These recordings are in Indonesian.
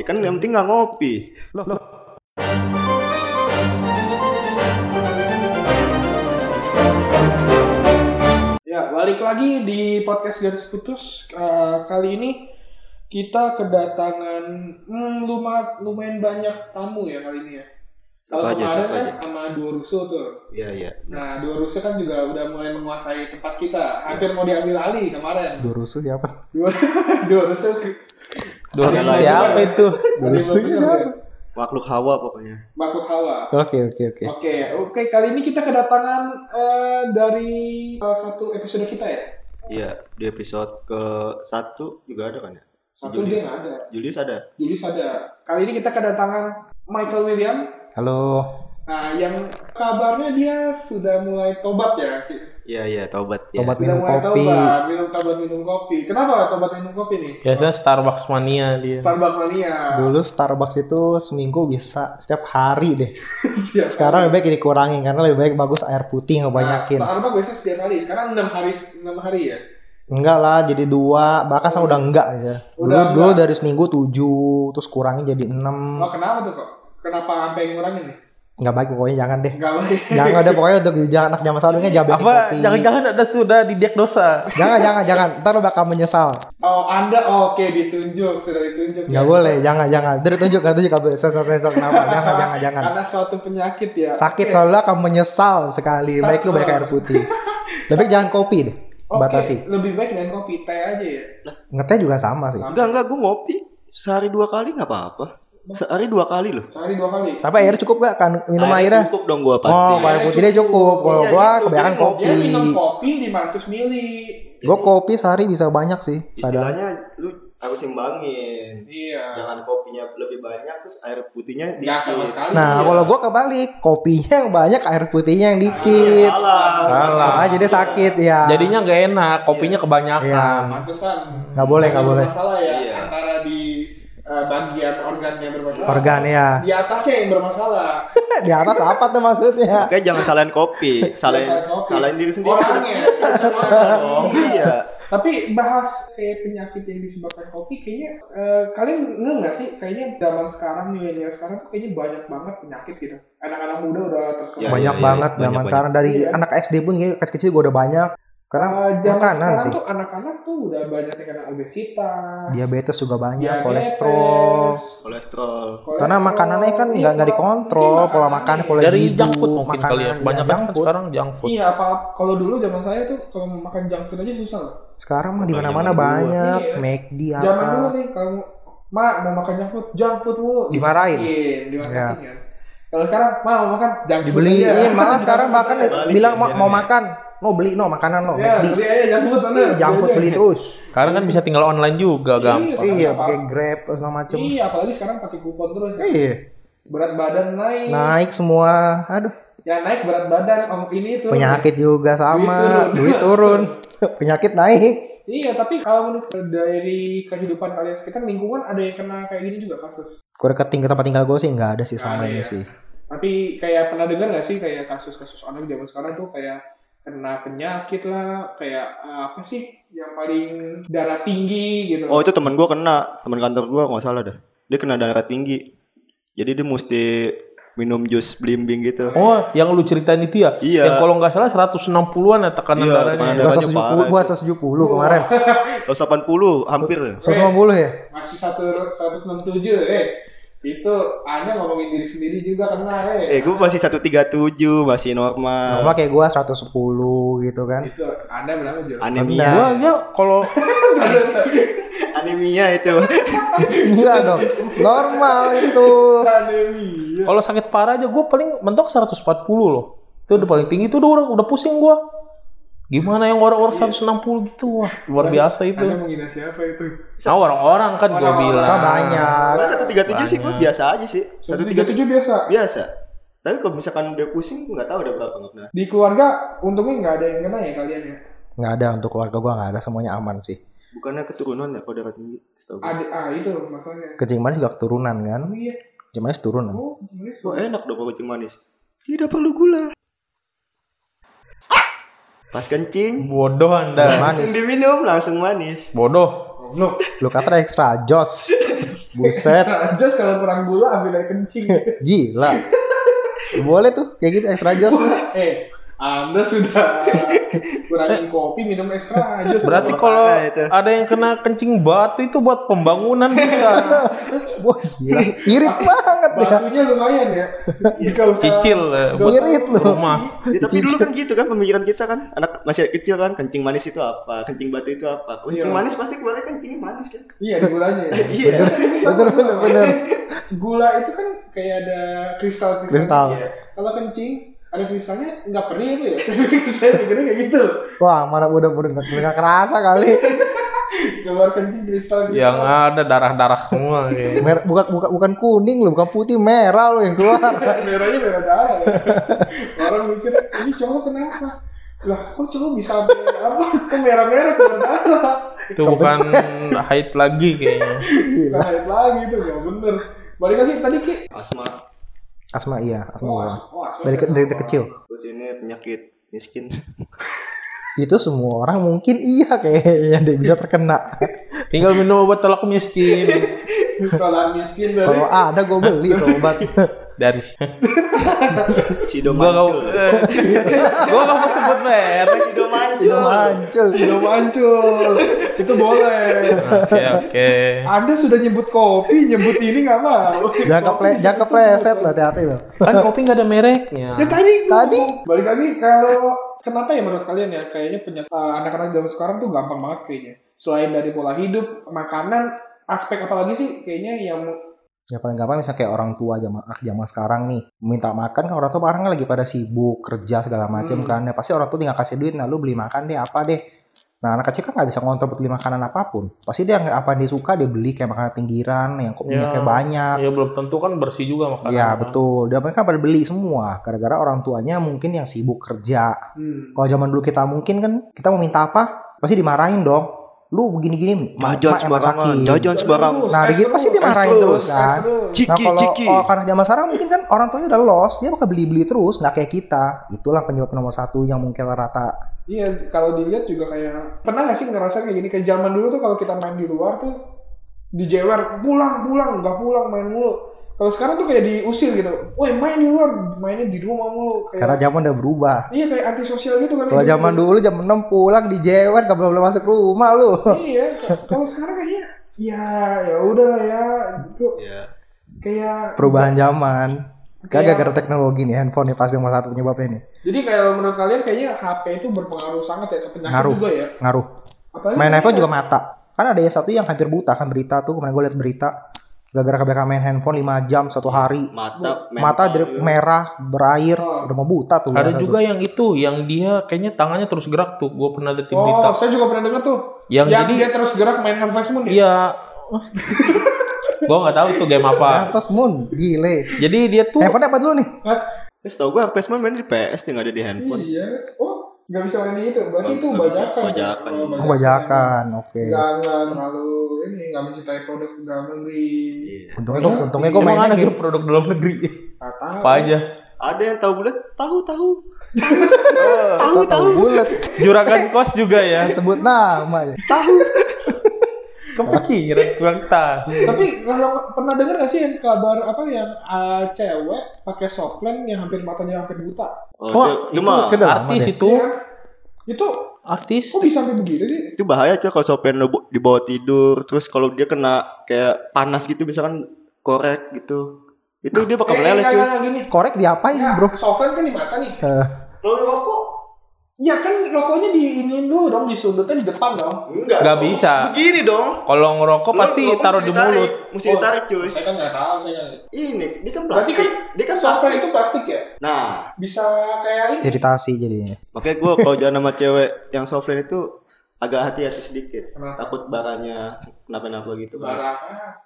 Ya kan yang penting nggak ngopi. Loh, loh. Ya, balik lagi di podcast Garis Putus. Eh, kali ini kita kedatangan hmm, luma- lumayan banyak tamu ya kali ini ya. Kalau Siapa aja, kemarin siapa kan aja. sama Doruso tuh. Iya, iya. Nah, Doruso kan juga udah mulai menguasai Ya. tempat kita. Hampir mau diambil alih kemarin. Dorusu siapa? Doruso Ada Dorusu lagi. siapa itu? Dorusu Doruso siapa? Makhluk hawa pokoknya. Makhluk hawa. Oke, oke, oke. Oke, oke. Kali ini kita kedatangan eh, dari salah satu episode kita ya. Iya, di episode ke satu juga ada kan ya? Si Satu dia nggak ada. Julius ada. Julius ada. Kali ini kita kedatangan Michael William. Halo. Nah, yang kabarnya dia sudah mulai tobat ya. Iya, iya, taubat ya. Tobat Sudah minum mulai kopi. tobat, minum tobat minum kopi. Kenapa tobat minum kopi nih? Biasanya Starbucks mania dia. Starbucks mania. Ya. Dulu Starbucks itu seminggu bisa setiap hari deh. Siap. Sekarang lebih baik dikurangin karena lebih baik bagus air putih ngebanyakin. Nah, Starbucks biasanya setiap hari. Sekarang 6 hari 6 hari ya. Enggak lah, jadi dua, bahkan saya udah enggak aja. Dulu, Udah dulu enggak. dari seminggu tujuh, terus kurangin jadi enam. Oh, kenapa tuh kok? Kenapa sampai ngurangin nih? Enggak baik pokoknya jangan deh. Enggak baik. Jangan ada pokoknya untuk jangan anak zaman sekarang ini jangan bikin Apa kopi. jangan-jangan ada sudah didiagnosa? Jangan, jangan, jangan. Ntar lo bakal menyesal. Oh, Anda oh, oke ditunjuk, sudah ditunjuk. Nggak Iya. ya. boleh, jangan, jangan. Dari tunjuk, nggak tunjuk, nggak boleh. Sensor, sensor, kenapa? Jangan, jangan, jangan. Karena suatu penyakit ya. Sakit Oke. soalnya kamu menyesal sekali. Baik lu banyak air putih. Lebih baik jangan kopi deh. Oke, Batasi. Lebih baik dengan kopi teh aja ya. Ngeteh juga sama sih. Enggak, enggak, gue ngopi sehari dua kali nggak apa-apa. Sehari dua kali loh. Sehari dua kali. Tapi air cukup gak kan minum airnya? Cukup dong gue pasti. Oh, air putihnya cukup. Kalau Iya, gua gitu. kebanyakan Jadi kopi. Dia minum kopi 500 mili. Gua kopi sehari bisa banyak sih. Padahal Istilahnya lu harus imbangin. Iya. Jangan kopinya lebih banyak terus air putihnya Enggak sama dikit. Iya. sekali. Nah, kalau gua kebalik, kopinya yang banyak, air putihnya yang dikit. Salah. Nah, Salah. Ah, jadi sakit ya. Iya. Jadinya nggak enak, kopinya kebanyakan. Pantesan. Nggak boleh, nggak Ada boleh. Masalah ya Iya. antara di eh, bagian organnya bermasalah. organ ya. Nah, Di atasnya yang bermasalah. Di atas apa tuh maksudnya? Makanya jangan salahin kopi, salahin Jangan salahin kopi. salahin diri sendiri. Orangnya. yang bermasalah. Iya. Tapi bahas kayak penyakit yang disebabkan kopi, kayaknya eh, kalian ngeh nggak sih? Kayaknya zaman sekarang milenial sekarang tuh kayaknya banyak banget penyakit gitu. Anak-anak muda udah terserang. Ya, banyak ya, ya, banget banyak, zaman banyak. sekarang dari Iya. anak SD pun kayak pas kecil gue udah banyak karena Eh, zaman makanan sekarang sih tuh anak-anak tuh udah banyak yang kena obesitas, diabetes juga banyak diabetes, kolesterol Kolesterol. karena kolesterol. makanannya kan Iya, nggak nggak dikontrol mungkin pola makan makanannya. pola Dari hidup junk food mungkin kali ya. Banyak kan sekarang junk food. Iya, apa kalau dulu zaman saya tuh kalau mau makan junk food aja susah loh. sekarang mah di Banyak mana-mana banget. banyak Iya. McD Zaman dulu kan apa nih kalau mau- Mak mau makan junk food, junk food mulu. Dimarahin. Iya, dimarahin kan. Kalau sekarang, Mak mau makan junk food. aja." Iya, dibeliin Iya, malah sekarang bahkan Balik bilang ya, "Ma- mau sekarang ya." makan no beli no makanan no Ya, McD beli aja junk food bener. junk food beli terus Sekarang kan bisa tinggal online juga, gampang. Iya, iya apa- pakai grab segala macem Iya, apalagi sekarang pakai kupon terus. ya. iya Berat badan naik. naik semua aduh Ya naik berat badan om ini tuh. Penyakit juga sama, Duit duit turun, penyakit naik. Iya, tapi kalau menurut dari kehidupan kalian sekitar lingkungan ada yang kena kayak gini juga kasus. Gue keting ke tempat tinggal gue sih nggak ada sih Nggak selama ada ya. ini sih. Tapi kayak pernah dengar nggak sih kayak kasus-kasus anak zaman sekarang tuh kayak kena penyakit lah, kayak eh, apa sih yang paling darah tinggi gitu. Oh itu temen gue kena, temen kantor gue nggak salah dah. Dia kena darah tinggi. Jadi dia mesti minum jus blimbing gitu. Oh, yang lu ceritain itu ya? Iya. Yang kalau nggak salah 160-an ya tekanan Iya, darahnya. tekanan Gue darahnya 170, parah. gue 170 kemarin. 180 hampir. 150 ya? Masih satu 167 eh itu Anda ngomongin diri sendiri juga kena eh. Eh gue masih 137 masih normal. Sama kayak gue 110 gitu kan. Nah. itu Anda berapa Jo? iya. Gua Anemia. ya kalau Anemia itu. Enggak dong, normal itu. Anemia. kalau sakit parah aja gue paling mentok 140 loh. Itu udah paling tinggi itu udah orang udah pusing gua. Gimana yang Iya. orang-orang 160 gitu wah luar biasa Anda itu. menghina siapa itu? Nah orang-orang kan gua Orang-orang. bilang. Kita banyak. Gua 137 sih gue biasa aja sih. 137 137 biasa. biasa. Tapi kalau misalkan udah pusing gue nggak tahu udah berapa nggak pernah. Di keluarga untungnya nggak ada yang kena ya kalian ya. Nggak ada untuk keluarga gue nggak ada semuanya aman sih. Bukannya keturunan ya kalau darah tinggi? Setahu gue. Ada ah itu masalahnya. Kencing manis juga keturunan kan? Oh iya. Kencing manis turunan. Oh, gimana sih? Wah enak dong kalau kencing manis. Tidak perlu gula. Pas kencing Bodoh Manis. Anda. langsung diminum langsung manis. Bodoh. goblok. Lu kata ekstra jos. Buset, Rajas kalau kurang gula ambil air kencing. gila. Boleh tuh kayak gitu ekstra jos. eh, Anda sudah kurangin kopi minum ekstra aja. Berarti kalau Ada itu. ada yang kena kencing batu itu buat pembangunan bisa. Wah, gila. Irit banget ya. batunya lumayan ya. Jika usah Cicil eh, buat Irit lu. rumah. Ya, tapi dulu kan gitu kan pemikiran kita kan anak masih kecil kan kencing manis itu apa kencing batu itu apa kencing Iya. manis pasti keluarnya kencingnya manis kan Iya, di gulanya. ya. iya Bener bener bener. Gula itu kan kayak ada kristal Kristal. kristal. Kalau kencing ada kristalnya nggak perih itu ya. Saya pikirnya kayak gitu. Wah, mana udah udah nggak- nggak kerasa kali. Keluar kencing kristal. gitu. Iya, Yang Ya, ada darah-darah semua kayak. Mer bukan, bukan bukan kuning lu, bukan putih, merah lu yang keluar. merahnya merah darah ya. orang mikir ini cowok kenapa lah kok cowok bisa sampai apa kok merah merah keluar darah Itu bukan haid lagi kayaknya. Kita naik lagi tuh nggak bener balik lagi tadi ki Oh, asma Asma iya, asma ulang. wah, Dari ke- dari kecil. terus ini penyakit miskin Itu semua orang mungkin iya kayaknya dia bisa terkena. Tinggal minum obat tolak miskin setelah miskin dari Kalau ada gue beli tuh obat. dari sido gua gak mancul eh, gua gak mau sebut merek. sido Itu mancul mancul. sudah mancul itu boleh Oke oke. anda sudah nyebut kopi nyebut ini nggak mau Jangan keple jangan kepleset lo hati-hati lo. Kan kopi gak ada mereknya. ya tadi gua Tadi. ngomong. balik lagi kalau kenapa ya menurut kalian ya kayaknya penyakit anak-anak zaman sekarang tuh gampang banget kayaknya selain dari pola hidup makanan aspek apalagi sih kayaknya yang Ya paling gampang misalnya kayak orang tua zaman ah, zaman sekarang nih minta makan kan orang tua orang lagi pada sibuk kerja segala macem Hmm. kan ya pasti orang tua tinggal kasih duit nah lu beli makan deh apa deh nah anak kecil kan nggak bisa ngontrol buat beli makanan apapun pasti dia nggak- apa yang dia suka dia beli kayak makanan pinggiran yang kok Ya. minyaknya banyak Ya belum tentu kan bersih juga makanan. Iya betul, dia mereka pada beli semua gara-gara orang tuanya mungkin yang sibuk kerja. hmm, Kalau zaman dulu kita mungkin kan kita mau minta apa pasti dimarahin dong. Lu begini-gini, jajan ma- ma- emang sembarangan sakit. jajan sembarangan Nah, Terus, gitu pasti terus, dimarahin terus, terus kan. terus. Nah ciki kalau ciki kalau karena zaman sekarang mungkin kan orang tuanya udah los, dia bakal beli-beli terus, nggak kayak kita. Itulah penyebab nomor satu yang mungkin rata. Iya, kalau dilihat juga kayak pernah gak sih ngerasa kayak gini kayak zaman dulu tuh kalau kita main di luar tuh dijewer pulang pulang nggak pulang main mulu. Kalau sekarang tuh kayak diusir gitu. Woi main di luar, mainnya di rumah mulu. Karena Kayak, zaman udah berubah. iya kayak antisosial gitu kan. Kalau zaman dulu jam 6 pulang di jewer, gak boleh masuk rumah lu. Iya, kalau sekarang kayaknya ya ya udah lah ya itu ya kayak Perubahan zaman. Gak kayak- gara-gara teknologi nih, handphone nih pasti nomor satu penyebabnya nih. Jadi kayak menurut kalian kayaknya HP itu berpengaruh sangat ya ke penyakit Ngaruh. juga ya. Ngaruh. Apalagi Main kayaknya- handphone juga mata. Kan ada ya satu yang hampir buta kan berita tuh, kemarin gue liat berita. Gara-gara kebanyakan main handphone 5 jam satu hari. mata mental. Mata dari merah, berair, Oh. udah mau buta tuh. Ada Satu. juga yang itu, yang dia kayaknya tangannya terus gerak tuh. Gue pernah ada di Oh, berita. saya juga pernah dengar tuh. Yang, yang jadi, dia terus gerak main Harvest Moon ya. iya. gue nggak tahu itu game apa. Atas moon, gile. Jadi dia tuh Handphone apa dulu nih? Terus tau gue Harvest Moon main di PS nih nggak ada di handphone Iya. Oh, nggak bisa main itu. Nggak- Berarti itu nggak bisa. bajakan. Bajakan. Kalau Oh, bajakan, oke. Nggak nggak terlalu ini nggak mencintai produk dalam negeri. Iya. Untungnya gue, Iya. untungnya gue emang mainnya ada game. game produk dalam negeri. Nggak tahu. Apa aja? ada yang tahu bulat tahu tahu Tahu tahu bulat. Juragan kos juga ya. Sebut nama. Kepikiran tukang tahu. Tapi kalau pernah dengar nggak sih yang kabar apa yang eh, cewek pakai softland yang hampir matanya hampir buta? oh, Wah, itu, itu mah kedal- Udah lama Artis deh. itu, Iya. Itu artis. kok bisa sampai begitu sih? itu bahaya aja kalau sopen lo bo- dibawa tidur terus kalau dia kena kayak panas gitu misalkan korek gitu itu dia bakal Eh, meleleh nggak, cuy nggak, nggak, gini. Korek diapain Ya, bro? Softland kan di mata nih. Eh. Lo rokok. Ya kan rokoknya diinin dulu dong, disundutnya di depan dong. enggak Nggak dong. bisa. begini dong Kalau ngerokok Lo- pasti lo kan taruh mesti di ditarik. mulut. mesti Oh. ditarik cuy Saya kan nggak tahu, saya nggak- ini dia kan Berarti plastik kan dia kan Softland plastik itu plastik ya? nah bisa kayak ini Iritasi jadinya. makanya gue kalau jalan sama cewek yang softline itu agak hati-hati sedikit Kenapa? takut baranya kenapa-napa gitu kan barang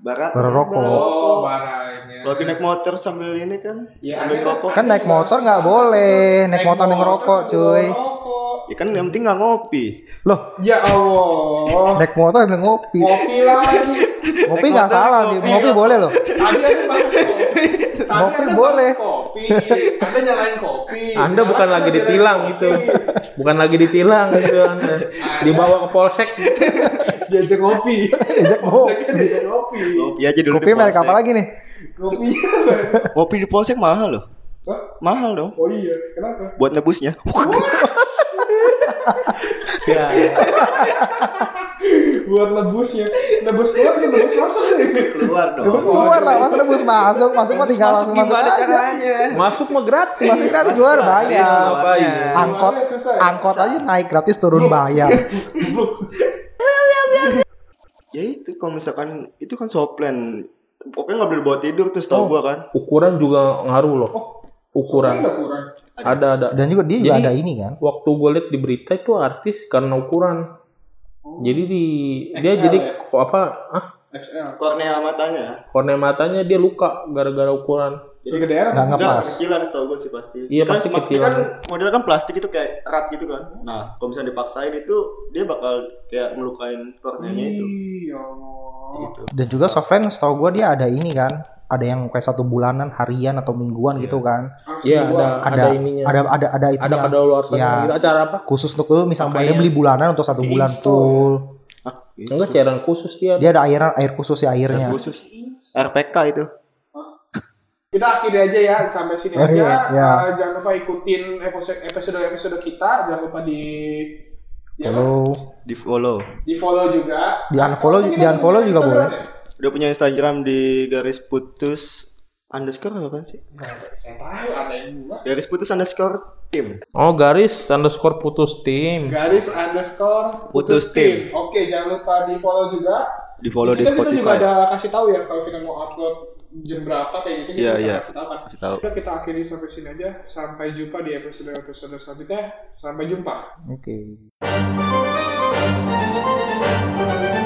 bara Bara rokok. oh rokok. barangnya kalau lagi naik motor sambil ini kan Ya, ambil ada- rokok Kan naik motor nggak boleh. Naik motor yang ngerokok sambil cuy. ngerokok. Ya kan yang penting nggak ngopi. Loh, Ya Allah. naik motor ada ngopi. Ngopi lagi. Ngopi Oh, Naik nggak motor, salah sih. ngopi. Ngopi boleh loh. Tadi ada bahas kopi. Tadi Anda Ngopi bahas boleh. Kopi. Anda nyalain kopi. Anda bukan Sekarang lagi Anda ditilang nyalain gitu. kopi. Bukan lagi ditilang gitu Anda. Dibawa ke polsek. Diajak ngopi. Diajak Maksudnya diajak ngopi. Ngopi aja dulu. Ngopi di merek polsek. apa lagi nih? Ngopinya. Ngopi di polsek mahal loh. Hah? Mahal dong. Oh iya, kenapa? Buat nebusnya. Ya. Buat nebusnya. Nebus keluar kan nebus masuk sih. Keluar dong. Keluar lah, masa rebus masuk, masuk mah tinggal langsung masuk aja. Masuk mah gratis. Masuk gratis keluar Iya, Iya, Gratis, mau bayar. ngapain? Angkot, Keluarnya susah ya? angkot aja naik gratis turun bayar. Ya itu kalau misalkan itu kan soplen. Pokoknya nggak boleh bawa tidur tuh setahu Oh. gua kan. Ukuran juga ngaruh loh. Oh. Ukuran. Nggak kurang. Ada ada. Dan juga dia juga Jadi- ada ini kan. Waktu gue liat di berita itu artis karena ukuran. Oh. Jadi di dia XL jadi ya? kok apa? Ah, XL. Kornea matanya. kornea matanya dia luka gara-gara ukuran. Jadi ke daerah. Nggak Enggak, ngepas. kecilan setahu gue sih pasti. Iya, pasti semakin- kecilan. Kan model kan plastik itu kayak erat gitu kan. Nah, kalau misalnya dipaksain itu dia bakal kayak melukain korneanya itu. Iya. Allah. Gitu. Dan juga softlens setahu gua dia ada ini kan. Ada yang kayak satu bulanan, harian atau mingguan gitu kan. Harus Iya, keluar. ada, ada Ada- ininya. Ada ada ada itu ada kadaluarsa Iya. gitu. Acara apa? khusus untuk lu misalnya Makanya dia beli bulanan untuk satu di bulan install. tuh. Ah, gitu. Iya. Enggak cairan khusus dia. Dia ada airan air khusus Zat ya airnya. khusus. RPK itu. kita akhiri aja ya sampai sini Oh, aja. iya, iya. Eh, jangan lupa ikutin episode episode episode kita. Jangan lupa di ya, Kalau Di follow. di follow juga. Di unfollow- Atau kita di unfollow punya juga Instagram boleh. ya? Udah punya Instagram di garis putus underscore apa kan sih? Nah, Saya tahu ada yang gua. Garis putus underscore tim. Oh, garis underscore putus tim. Garis underscore Putus tim. Oke, jangan lupa di follow juga. Di follow di situ kita juga Spotify. ada kasih tahu ya kalau kita mau upload jam berapa kayak gitu Iya, kita iya. kasih tahu kan. Kasih tahu. Udah kita akhiri sampai sini aja. Sampai jumpa di episode episode selanjutnya. Sampai jumpa. oke. Thank